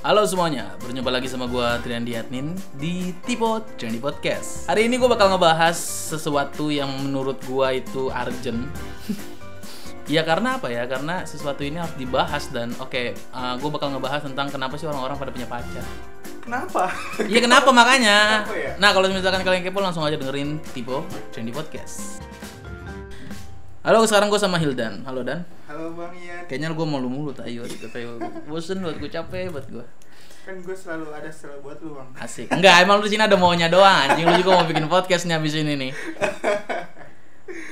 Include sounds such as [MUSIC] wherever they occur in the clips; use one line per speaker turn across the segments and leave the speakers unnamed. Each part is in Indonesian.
Halo semuanya, berjumpa lagi sama gue Triandi Adnin di Tipo Trendy Podcast Hari ini gue bakal ngebahas sesuatu yang menurut gue itu urgent [LAUGHS] Ya karena apa ya? Karena sesuatu ini harus dibahas dan oke, gue bakal ngebahas tentang kenapa sih orang-orang pada punya pacar
Kenapa?
Iya kenapa makanya?
Kenapa ya?
Nah kalau misalkan kalian kepo langsung aja dengerin Tipo Trendy Podcast Halo, sekarang gue sama Hildan. Halo Dan.
Halo Bang Ian,
Kayaknya gue malu mulu tayo, tayo. Gitu, Bosen buat gue capek buat gue.
kan gue selalu ada selalu buat lu Bang.
Asik. Enggak, emang lu di sini ada maunya doang. Anjing lu juga mau bikin podcast nih habis ini nih.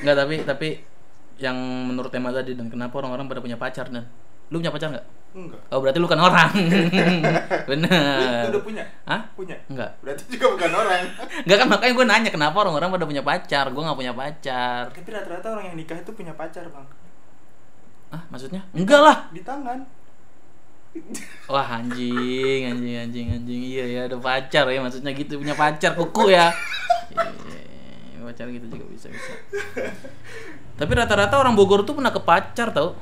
Enggak, tapi tapi yang menurut tema tadi dan kenapa orang-orang pada punya pacar dan lu punya pacar nggak?
Enggak.
Oh berarti lu kan
[LAUGHS]
orang.
Lu
Bener.
udah punya?
Eh, Hah?
Punya.
Enggak.
Berarti juga bukan orang.
Enggak kan makanya gue nanya kenapa orang-orang pada punya pacar. Gue nggak punya pacar.
Tapi rata-rata orang yang nikah itu punya pacar Bang.
Ah maksudnya? Enggak lah.
Di tangan.
Wah anjing, anjing, anjing, anjing. Iya ya ada pacar ya maksudnya gitu punya pacar kuku ya. Iya, pacar gitu juga bisa bisa. Tapi rata-rata orang Bogor tuh pernah ke pacar tau?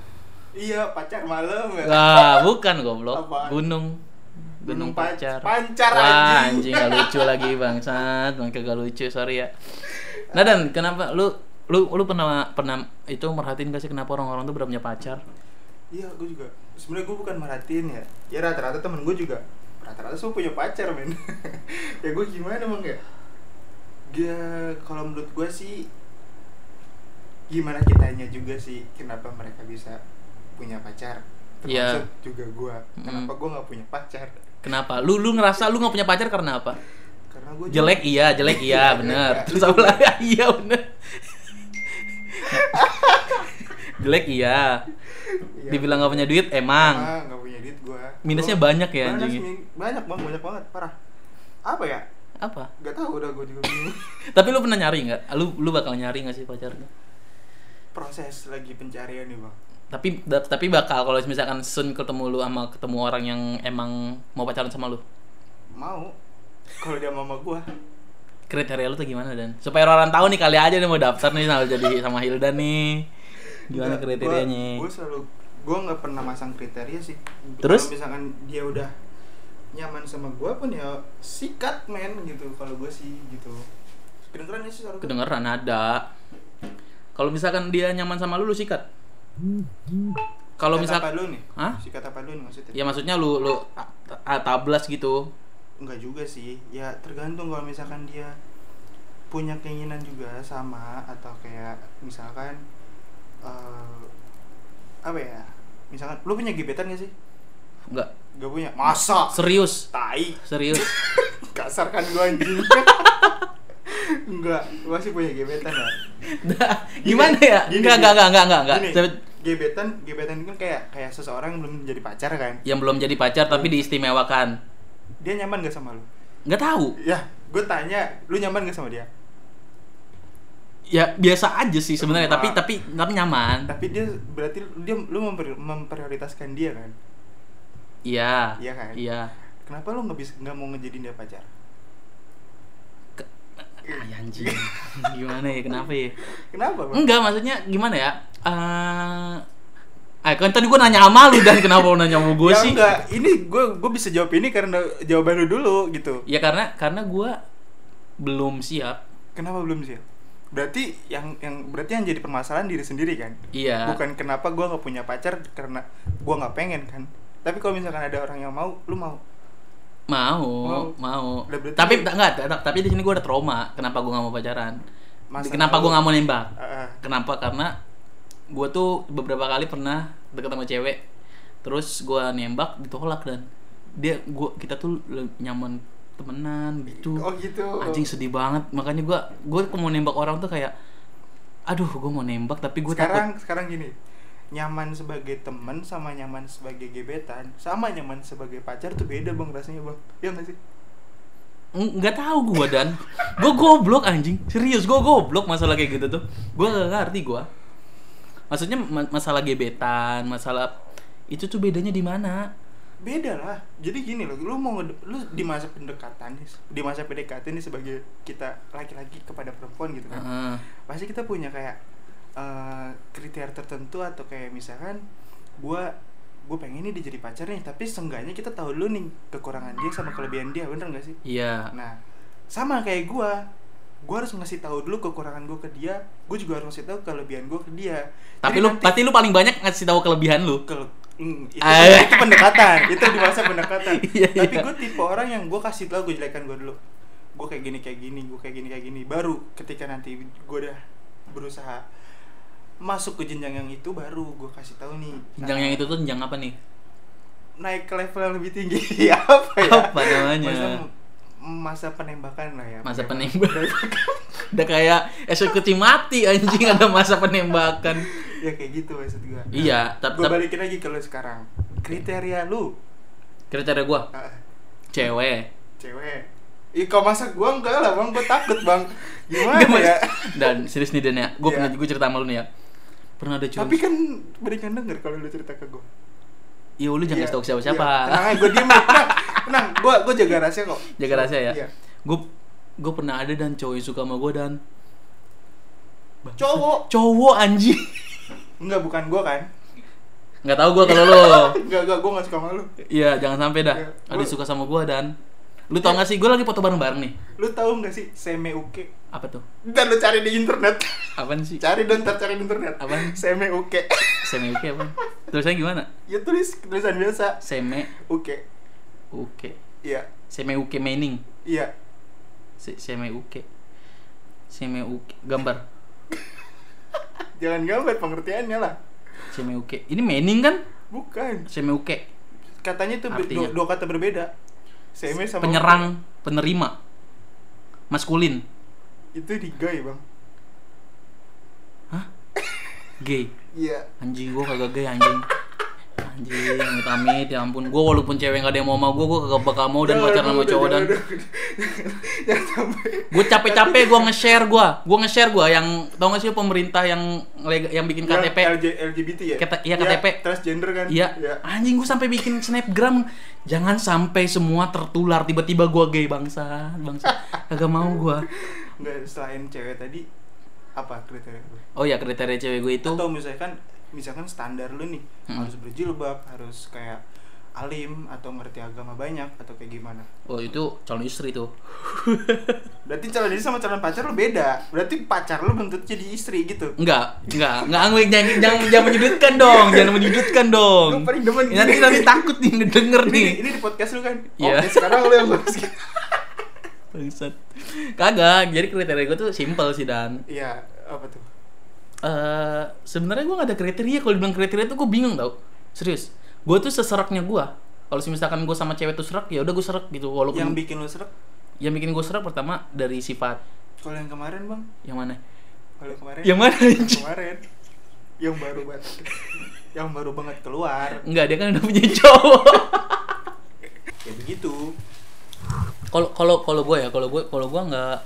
Iya, pacar malam ya.
Wah bukan goblok,
Apaan?
gunung. Gunung
Gunung pac-
pacar.
pancar,
Wah anjing
anjing.
gak lucu lagi bangsat, makanya gak lucu sorry ya. Nah dan kenapa lu lu lu pernah pernah itu merhatiin gak sih kenapa orang-orang tuh pada punya pacar?
Iya, gue juga. Sebenarnya gue bukan merhatiin ya. Ya rata-rata temen gue juga rata-rata semua punya pacar men. [LAUGHS] ya gue gimana Bang ya? Dia kalau menurut gue sih gimana kitanya juga sih kenapa mereka bisa punya pacar.
Iya.
Termasuk juga gue. Kenapa gue nggak punya pacar?
Kenapa? Lu lu ngerasa lu gak punya pacar karena apa?
Karena gue
jelek iya jelek iya bener terus apa lagi [LAUGHS] iya bener jelek iya dibilang gak punya duit emang
Ah, nggak punya duit gue.
Minusnya banyak ya, anjingnya?
Banyak bang, banyak banget, parah. Apa ya?
apa
Gak tahu udah gue juga bingung. [LAUGHS]
tapi lu pernah nyari nggak lu lu bakal nyari nggak sih pacarnya
Proses lagi pencarian nih bang.
tapi da- tapi bakal kalau misalkan sun ketemu lu sama ketemu orang yang emang mau pacaran sama lu
Mau kalau dia mama gue.
kriteria lu tuh gimana dan supaya orang tahu nih kali aja dia mau daftar nih sama jadi sama Hilda nih gimana kriterianya
Gue selalu gue nggak pernah masang kriteria sih.
Terus?
Kalau misalkan dia udah nyaman sama gue pun ya sikat men gitu kalau gue sih gitu. Kedengeran ya sih suara gua?
kedengeran ada kalau misalkan dia nyaman sama lu lu sikat kalau
Sikat apa
misalkan
lu nih?
Hah?
Sikat apa lu nih maksudnya?
ya maksudnya lu lu a- a- tablas gitu
Enggak juga sih. Ya tergantung kalau misalkan dia punya keinginan juga sama atau kayak misalkan eh, apa ya? Misalkan lu punya gebetan gak sih?
enggak
Gak punya. Masa?
serius
Tai. [LAUGHS]
serius
Kasar kan gua
[LAUGHS]
anjing. Enggak, gua sih punya gebetan ya.
Dah, gimana ya
Gini,
enggak
gini.
enggak enggak enggak enggak enggak
Gini,
Saya-
gebetan, gebetan itu kan kayak kayak seseorang yang belum jadi pacar kan.
yang belum jadi pacar tapi diistimewakan
Dia nyaman gak sama lu?
nggak tahu
Ya, gue tanya, lu nyaman gak sama dia?
ya biasa aja sih sebenarnya tapi
Wah.
tapi tapi nyaman
Tapi dia berarti dia lu memper- memprioritaskan dia kan?
iya
Iya kan?
iya
Kenapa lu nggak bisa nggak mau ngejadiin dia pacar? Iya.
Ay, anjing [LAUGHS] gimana ya kenapa ya
Kenapa? Bang?
Enggak, maksudnya gimana ya? Eh, eh kan tadi gue nanya sama lu dan kenapa lu nanya sama gue
ya
sih?
enggak, ini gue gue bisa jawab ini karena jawaban lu dulu gitu.
Ya karena karena gue belum siap.
Kenapa belum sih? Berarti yang yang berarti yang jadi permasalahan diri sendiri kan?
Iya.
Bukan kenapa gue nggak punya pacar karena gue nggak pengen kan? Tapi kalau misalkan ada orang yang mau, lu mau?
Mau,
Mau.
mau.
Lah, berarti-
Tapi enggak, enggak, tapi di sini gue ada trauma. Kenapa gue nggak mau pacaran?
Masa
kenapa gue
lalu?
nggak mau nembak?
Ah, ah.
Kenapa? Karena gue tuh beberapa kali pernah deket sama cewek, terus gue nembak ditolak dan dia gua kita tuh le- nyaman temenan gitu.
Oh gitu.
anjing sedih banget makanya gua gua tuh mau nembak orang tuh kayak aduh gua mau nembak tapi gua takut
sekarang sekarang gini, nyaman sebagai teman sama nyaman sebagai gebetan sama nyaman sebagai pacar tuh beda bang rasanya bang. Iya nggak sih?
Ng- nggak tahu gua dan gua goblok anjing serius gua goblok masalah kayak gitu tuh gua gak ngerti gua maksudnya ma- masalah gebetan masalah itu tuh bedanya di mana
beda lah jadi gini loh lu mau ngede- lu di masa pendekatan nih di masa PDKT nih sebagai kita laki-laki kepada perempuan gitu kan
Heeh.
pasti kita punya kayak eh, kriteria tertentu atau kayak misalkan gua gue pengen nih dia jadi pacar nih tapi seenggaknya kita tahu dulu nih kekurangan dia sama kelebihan dia bener gak sih
Iya.
nah sama kayak gue gue harus ngasih tahu dulu kekurangan gue ke dia gue juga harus ngasih tahu kelebihan gue ke dia
Tapi
Jadi
lu
nanti-
pasti lu paling banyak ngasih tahu kelebihan lu.
Kalau mm, itu,
Ah.
itu pendekatan, itu di masa pendekatan.
[LAUGHS] Iya,
Tapi
iya.
gue tipe orang yang gue kasih tau gue jelekan gue dulu. Gue kayak gini kayak gini, gue kayak gini kayak gini. Baru ketika nanti gue udah berusaha masuk ke jenjang yang itu baru gue kasih tahu nih.
Jenjang yang itu tuh jenjang apa nih?
Naik ke level yang lebih tinggi [LAUGHS] apa ya?
Apa namanya?
Masa, masa penembakan lah ya.
Masa penembakan. [LAUGHS] Udah kayak eksekusi mati anjing ada masa penembakan.
ya kayak gitu maksud gue.
Iya, tapi-
gue
tapi-
balikin lagi ke lu sekarang. Kriteria lu
Kriteria gua
ah,
cewek.
cewek Ih, kalau masa gua enggak lah bang, gua takut bang Gimana
Gak, Mas.
ya?
Dan serius nih Dan ya, gue
Iya.
pernah gue cerita sama lu nih ya. Pernah ada cowok.
Tapi kan berikan denger kalau lu cerita ke gua
Iya, lu jangan
Iya,
kasih tau ke
iya.
siapa-siapa.
Tenang aja, gua diem, tenang, tenang, gua, gua jaga rahasia kok
Jaga rahasia ya.
Iya.
Gue gue pernah ada dan cowok yang suka sama gue dan
Cowok
cowok anjing.
Enggak, bukan gua kan
Nggak tahu gue kalau lu.
Enggak, enggak, gua gak suka sama lu
Iya, jangan sampai dah.
Iya,
Ada
gua-
suka sama gue dan lu tau gak sih gue lagi foto bareng-bareng nih.
Lu tahu gak sih, Semeuke
Apa tuh?
Dan lu cari di internet
Apaan sih?
Cari dan ntar cari di internet
Apaan?
Semeuke
Seme uke apa? Tulisannya gimana?
Ya tulis, tulisan biasa
Seme
Uke
uke.
Iya,
Seme uke mening.
iya
Se- Seme uke. Seme uke gambar.
Jangan gambar pengertiannya lah
Seme uke. Ini mening kan?
Bukan
Seme uke.
katanya itu ber-
Artinya?
dua, dua kata berbeda. Seme sama
Penyerang, penerima. Maskulin.
itu di gay, Bang.
Hah? Gay.
Iya.
Anjing gua kagak gay anjing. Anjing, amit-amit, ya ampun. Gua walaupun cewek gak ada yang mau sama gua, gua kagak bakal mau dan
Jangan,
pacaran sama
udah,
cowok dan
jangan, jangan, jangan sampai.
gue capek-capek gua nge-share gua. Gua nge-share gua yang tau gak sih pemerintah yang lega- yang bikin
Iya, Yang
KTP.
LG LGBT ya?
Kata- iya, KTP.
transgender kan?
Iya, anjing gue sampai bikin snapgram. Jangan sampai semua tertular tiba-tiba gua gay bangsa, bangsa. Kagak mau gua.
Nggak, selain cewek tadi apa kriteria lu?
Oh ya kriteria cewek gue itu
Atau misalkan misalkan standar lu nih,
Hmm.
harus berjilbab, harus kayak alim atau ngerti agama banyak atau kayak gimana?
Oh itu calon istri tuh.
Berarti calon istri sama calon pacar lu beda. Berarti pacar lu bentuk jadi istri gitu.
Enggak, enggak, enggak Angwi jangan jangan, jangan menyudutkan dong, jangan menyudutkan dong.
Gua paling demen
nanti
gini.
nanti takut nih ngedenger
Ini,
nih.
ini di podcast lu kan?
Iya.
Oke, sekarang lu yang bahas gitu.
Bangsat. Kagak, jadi kriteria gue tuh simple sih dan
Iya, apa tuh?
eh sebenarnya gue gak ada kriteria kalau dibilang kriteria tuh gue bingung tau serius gue tuh seseraknya gue kalau misalkan gue sama cewek tuh serak ya udah gue serak gitu walaupun
Yang
yang,
bikin lu serak?
bikin gue serak pertama dari sifat
Kalau yang kemarin, Bang.
yang mana
Kalau yang kemarin.
yang mana
Yang kemarin. Yang baru banget. yang baru banget keluar.
Enggak dia kan udah punya cowok
Ya begitu.
[LAUGHS] kalau kalau kalau gue ya kalau gue kalau gue nggak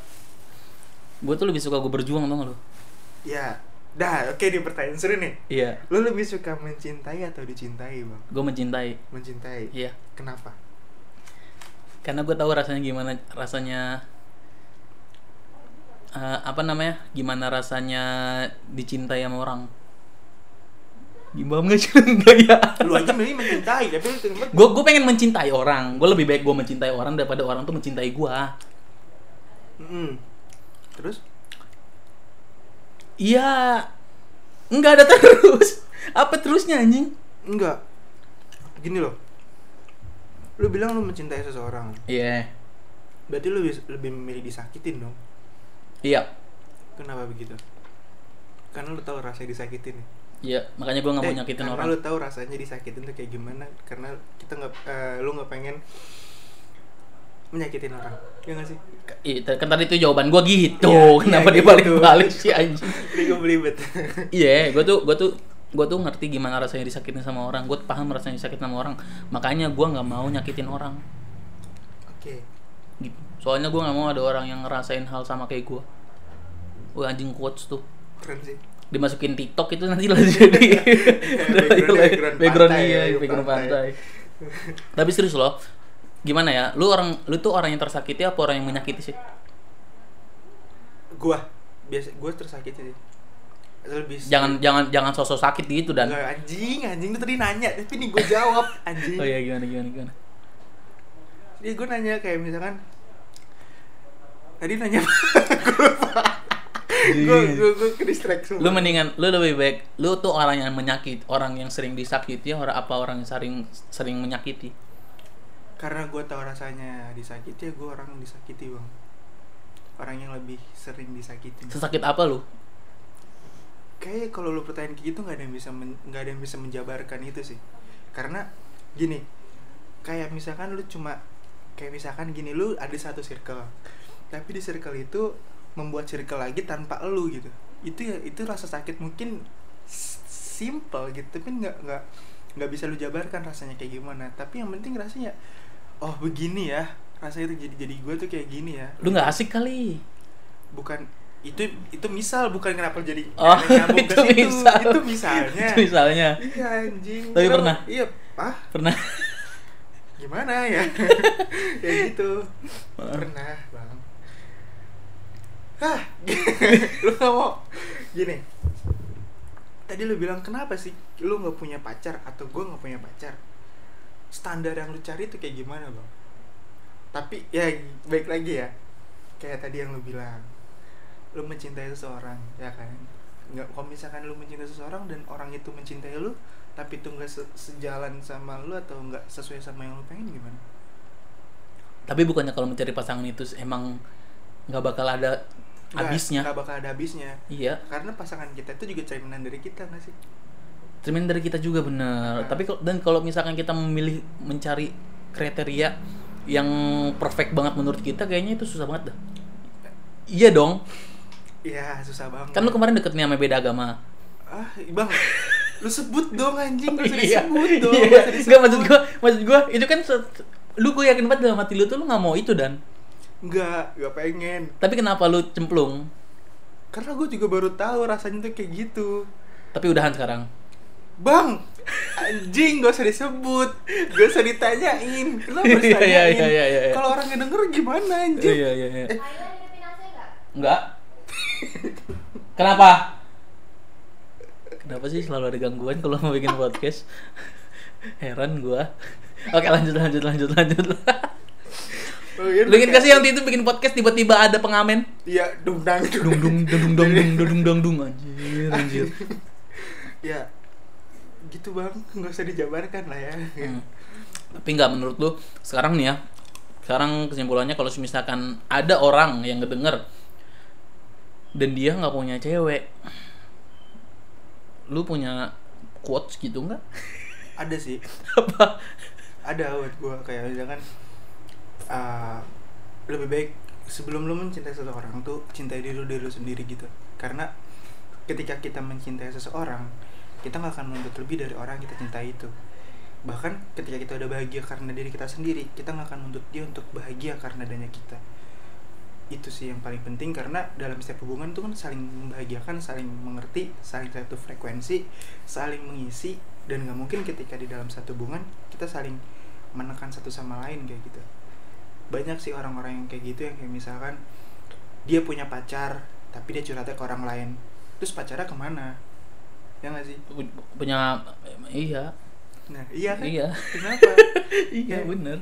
gue tuh lebih suka gue berjuang tau gak lo
Ya. Dah, oke nih pertanyaan seru nih.
iya
Lu lebih suka mencintai atau dicintai, Bang?
gue mencintai
Mencintai.
iya
Kenapa?
karena gue tahu rasanya gimana rasanya eh, apa namanya gimana rasanya dicintai sama orang gimana nggak sih [LAUGHS] enggak ya
Lu aja milih mencintai, tapi lu terima
gue gue pengen mencintai orang gue lebih baik gue mencintai orang daripada orang tuh mencintai gue
Mm-mm. Terus
iya nggak ada terus [LAUGHS] apa terusnya anjing
enggak. Gini loh. Lu bilang lu mencintai seseorang.
iya
Berarti lu lebih, lebih memilih disakitin dong.
iya
Kenapa begitu? Karena lu tahu rasanya disakitin. ya?
iya makanya gue nggak mau
Eh,
nyakitin
karena
orang
lu tahu rasanya disakitin tuh kayak gimana? Karena kita nggak, eh, lu nggak pengen menyakitin orang, ya nggak sih? [LAUGHS]
Iya, kan tadi itu jawaban gue gitu
Iya,
[LAUGHS] kenapa
iya,
dia
gitu.
balik balik sih anjing
Jadi gue belibet. [LAUGHS]
Iya, gue tuh gue tuh gue tuh ngerti gimana rasanya disakitin sama orang. Gue paham rasanya disakitin sama orang. Makanya gue nggak mau nyakitin orang.
Oke.
Gitu. Soalnya gue nggak mau ada orang yang ngerasain hal sama kayak gue. Wah anjing quotes tuh
Keren sih.
dimasukin TikTok itu nanti lah [LAUGHS] jadi
Background- background
background
pantai
iya,
ya,
background
pantai.
pantai. Tapi serius loh, gimana ya? Lu orang lu tuh orang yang tersakiti apa orang yang menyakiti sih?
Gua biasa, gue tersakiti sih. lebih
Jangan jangan jangan sosok sakit gitu dan.
Enggak, anjing anjing lu tadi nanya tapi nih gue
[LAUGHS]
jawab anjing
Oh iya gimana gimana gimana.
Jadi gue nanya kayak misalkan tadi nanya gue gue gue ke distract semua.
Iya. Lu mendingan lu lebih baik lu tuh orang yang menyakit, orang yang sering disakiti, orang apa orang yang sering sering menyakiti.
karena gue tahu rasanya disakiti ya gue orang yang disakiti bang orang yang lebih sering disakiti
Sesakit apa lu?
kayak kalau lu pertanyaan kayak gitu nggak ada yang bisa men- nggak ada yang bisa menjabarkan itu sih karena gini kayak misalkan lu cuma kayak misalkan gini lu ada satu circle tapi di circle itu membuat circle lagi tanpa lu gitu itu ya itu rasa sakit mungkin s- simple gitu tapi nggak nggak nggak bisa lu jabarkan rasanya kayak gimana tapi yang penting rasanya oh begini ya rasanya itu jadi jadi gue tuh kayak gini ya
Lu nggak asik kali.
bukan itu itu misal bukan kenapa jadi
Oh, [LAUGHS]
nyambung
itu
ke situ.
misal.
itu misalnya
Itu misalnya.
iya anjing
Tapi
Kenapa?
pernah?
iya ah
Pernah
gimana ya ya gitu pernah bang hah lu nggak mau gini tadi lu bilang kenapa sih lu nggak punya pacar atau gue nggak punya pacar standar yang lu cari itu kayak gimana bang tapi ya baik lagi ya kayak tadi yang lu bilang lu mencintai seseorang ya kan nggak kalau misalkan lu mencintai seseorang dan orang itu mencintai lu tapi itu nggak se- sejalan sama lu atau nggak sesuai sama yang lu pengen gimana
Tapi bukannya kalau mencari pasangan itu emang nggak bakal ada
Nggak-
habisnya.
nggak bakal ada habisnya
Iya.
karena pasangan kita itu juga cerminan dari kita nggak sih
cermin dari kita juga bener
Nah.
tapi kal- dan kalau misalkan kita memilih mencari kriteria yang perfect banget menurut kita kayaknya itu susah banget dah iya dong
Iya susah banget
kan lu kemarin deket nih sama beda agama
ah bang lu sebut dong anjing gak usah
[LAUGHS] Iya.
disebut dong
Iya.
nggak usah disebut.
nggak maksud gua maksud gua itu kan se- lu gue yakin banget dalam hati lu tuh lu nggak mau itu dan
nggak nggak pengen
tapi kenapa lu cemplung
karena gue juga baru tahu rasanya tuh kayak gitu
tapi udahan sekarang
bang anjing gak usah disebut gak usah ditanyain lu harus
[LAUGHS] Iya, iya,
tanyain
iya, iya, iya.
kalau orang yang denger gimana anjing
iya iya iya
Ayo hidupin AC nggak?
enggak kenapa Kenapa sih selalu ada gangguan kalau mau bikin podcast? Heran gua. Oke lanjut lanjut lanjut lanjut. Lu ingin kasih yang itu bikin podcast tiba-tiba ada pengamen?
Oh, iya dung dang
Dung dung dung dung dung dung dung dung dung anjir anjir.
ya gitu bang nggak usah dijabarkan lah ya
Hmm. Tapi nggak menurut lu sekarang nih ya. Sekarang kesimpulannya kalau misalkan ada orang yang ngedenger dan dia nggak punya cewek, lu punya quotes gitu nggak? [LAUGHS]
ada sih
Apa?
ada buat gue kayak misalkan uh, lebih baik sebelum lu mencintai seseorang tuh cintai diri lu diri lu sendiri gitu karena ketika kita mencintai seseorang kita nggak akan menuntut lebih dari orang yang kita cintai itu bahkan ketika kita udah bahagia karena diri kita sendiri kita nggak akan menuntut dia untuk bahagia karena adanya kita itu sih yang paling penting karena dalam setiap hubungan itu kan saling membahagiakan saling mengerti saling satu frekuensi saling mengisi dan nggak mungkin ketika di dalam satu hubungan kita saling menekan satu sama lain kayak gitu banyak sih orang-orang yang kayak gitu yang kayak misalkan dia punya pacar tapi dia curhatnya ke orang lain terus pacarnya kemana ya nggak sih
Pu- punya iya
nah iya kan
iya
kenapa
iya
Iya.
[LAUGHS] bener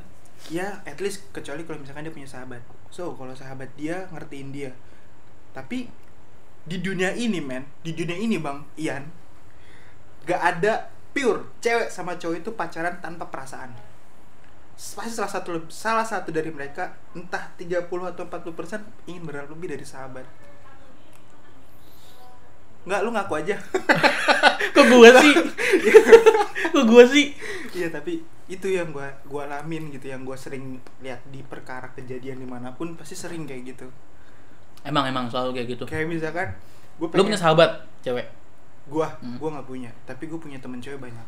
ya at least kecuali kalau misalkan dia punya sahabat so kalau sahabat dia ngertiin dia tapi di dunia ini men di dunia ini bang Ian gak ada pure cewek sama cowok itu pacaran tanpa perasaan pasti salah satu salah satu dari mereka entah 30 atau 40 persen ingin berharap lebih dari sahabat Enggak, lu ngaku aja [LAUGHS]
kok gua sih [LAUGHS] kok gua sih
Iya tapi itu yang gua gua alamin gitu yang gua sering lihat di perkara kejadian dimanapun pasti sering kayak gitu
emang emang selalu kayak gitu
kayak misalkan
lu
gua pengen-
punya sahabat cewek
gua
Hmm.
gua nggak punya tapi gua punya temen cewek banyak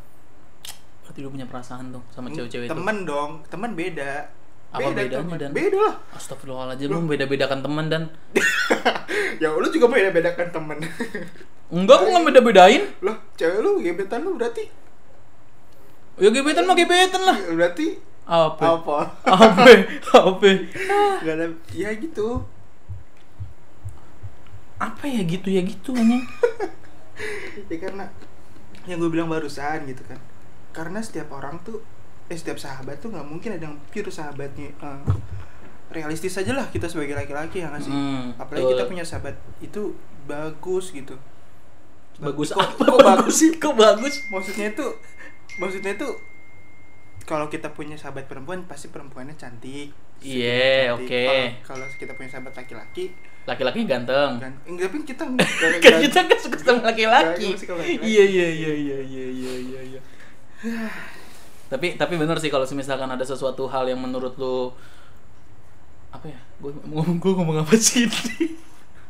berarti lu punya perasaan dong sama cewek-cewek itu
Hmm, temen dong temen beda
Apa bedanya,
temen.
Dan?
beda lah
astagfirullahaladzim lu beda-bedakan teman dan
ya lu juga beda bedakan temen [LAUGHS]
enggak gua nggak beda-bedain
loh cewek lu gebetan lu berarti
ya gebetan mah gebetan lah
berarti
apa Ah.
apa
apa apa
Nggak ada ya gitu
apa ya gitu ya gitu anjing
ya karena yang gue bilang barusan gitu kan karena setiap orang tuh eh setiap sahabat tuh nggak mungkin ada yang pure sahabatnya eh, realistis aja lah kita sebagai laki-laki ya nggak sih
Hmm,
apalagi
betul.
kita punya sahabat itu bagus gitu
bagus
Kok-
apa
kok
bagus sih kok bagus
maksudnya itu maksudnya itu kalau kita punya sahabat perempuan pasti perempuannya cantik
Iya,
Cantik.
oke.
kalau kalau kita punya sahabat laki-laki
Laki-laki ganteng.
dan eh, tapi
[LAUGHS]
kita
Hmm. Kan kita kan suka sama laki-laki.
Gak, gak suka sama laki-laki.
Iya iya iya iya iya iya iya. iya. tapi tapi benar sih kalau misalkan ada sesuatu hal yang menurut lu apa ya? Gue ngomong gue ngomong apa sih ini?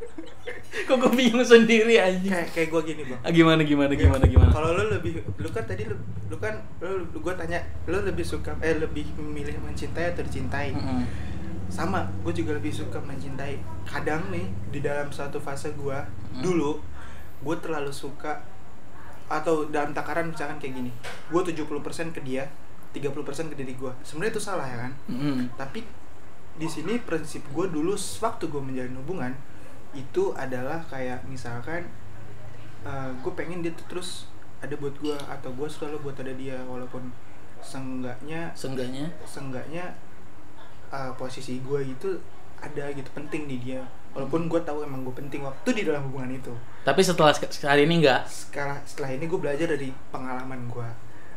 [LAUGHS] Kok gue bingung sendiri anjing.
kayak kayak gue gini bang
Ah, gimana gimana gimana gimana.
Kalau lu lebih lu kan tadi lu, lu kan lu gua tanya lu lebih suka eh lebih memilih mencintai atau dicintai?
Mm-mm.
Sama, gue juga lebih suka mencintai. Kadang nih di dalam suatu fase gua
Hmm.
dulu gue terlalu suka atau dalam takaran misalkan kayak gini. Gue 70% ke dia, 30% ke diri gua. Sebenarnya itu salah ya kan?
Mm-mm.
Tapi di sini prinsip gue dulu waktu gue menjalin hubungan itu adalah kayak misalkan gue pengen dia tuh terus ada buat gue atau gue selalu buat ada dia walaupun senggaknya
Seenggaknya
senggaknya eh, posisi gue itu ada gitu penting di dia walaupun gue tahu emang gue penting waktu di dalam hubungan itu
tapi setelah sek- hari ini enggak
sekarang setelah ini gue belajar dari pengalaman gue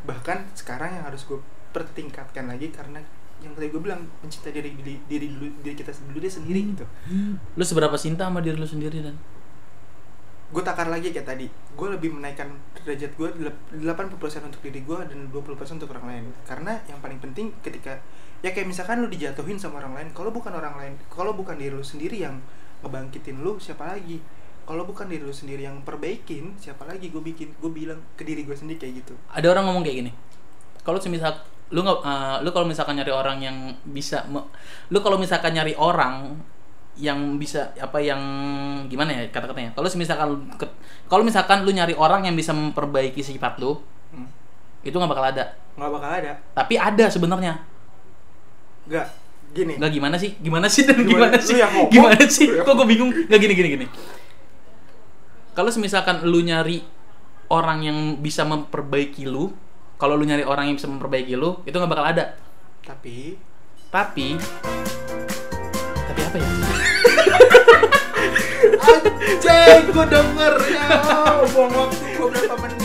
bahkan sekarang yang harus gue pertingkatkan lagi karena yang tadi gue bilang mencintai diri diri diri, dulu, diri kita dulu dia sendiri gitu
lu seberapa cinta sama diri lu sendiri dan
gue takar lagi kayak tadi gue lebih menaikkan derajat gue 80% untuk diri gue dan 20% untuk orang lain karena yang paling penting ketika ya kayak misalkan lu dijatuhin sama orang lain kalau bukan orang lain kalau bukan diri lu sendiri yang ngebangkitin lu siapa lagi kalau bukan diri lu sendiri yang perbaikin siapa lagi gue bikin gue bilang ke diri gue sendiri kayak gitu
ada orang ngomong kayak gini kalau semisal lu nggak eh, lu kalau misalkan nyari orang yang bisa me- lu kalau misalkan nyari orang yang bisa apa yang gimana ya kata-katanya kalau misalkan kalau misalkan lu nyari orang yang bisa memperbaiki sifat lu
Hmm.
itu nggak bakal ada
nggak bakal ada
tapi ada sebenarnya
nggak gini
nggak gimana sih gimana sih [LAUGHS] dan
Gimana?
gimana,
Lu
sih
yang ngomong.
gimana sih
Lu yang
kok gue bingung nggak gini gini gini kalau misalkan lu nyari orang yang bisa memperbaiki lu kalau lu nyari orang yang bisa memperbaiki lu itu nggak bakal ada
tapi
tapi tapi apa ya
[LAUGHS] cek gue denger ya buang waktu gue berapa menit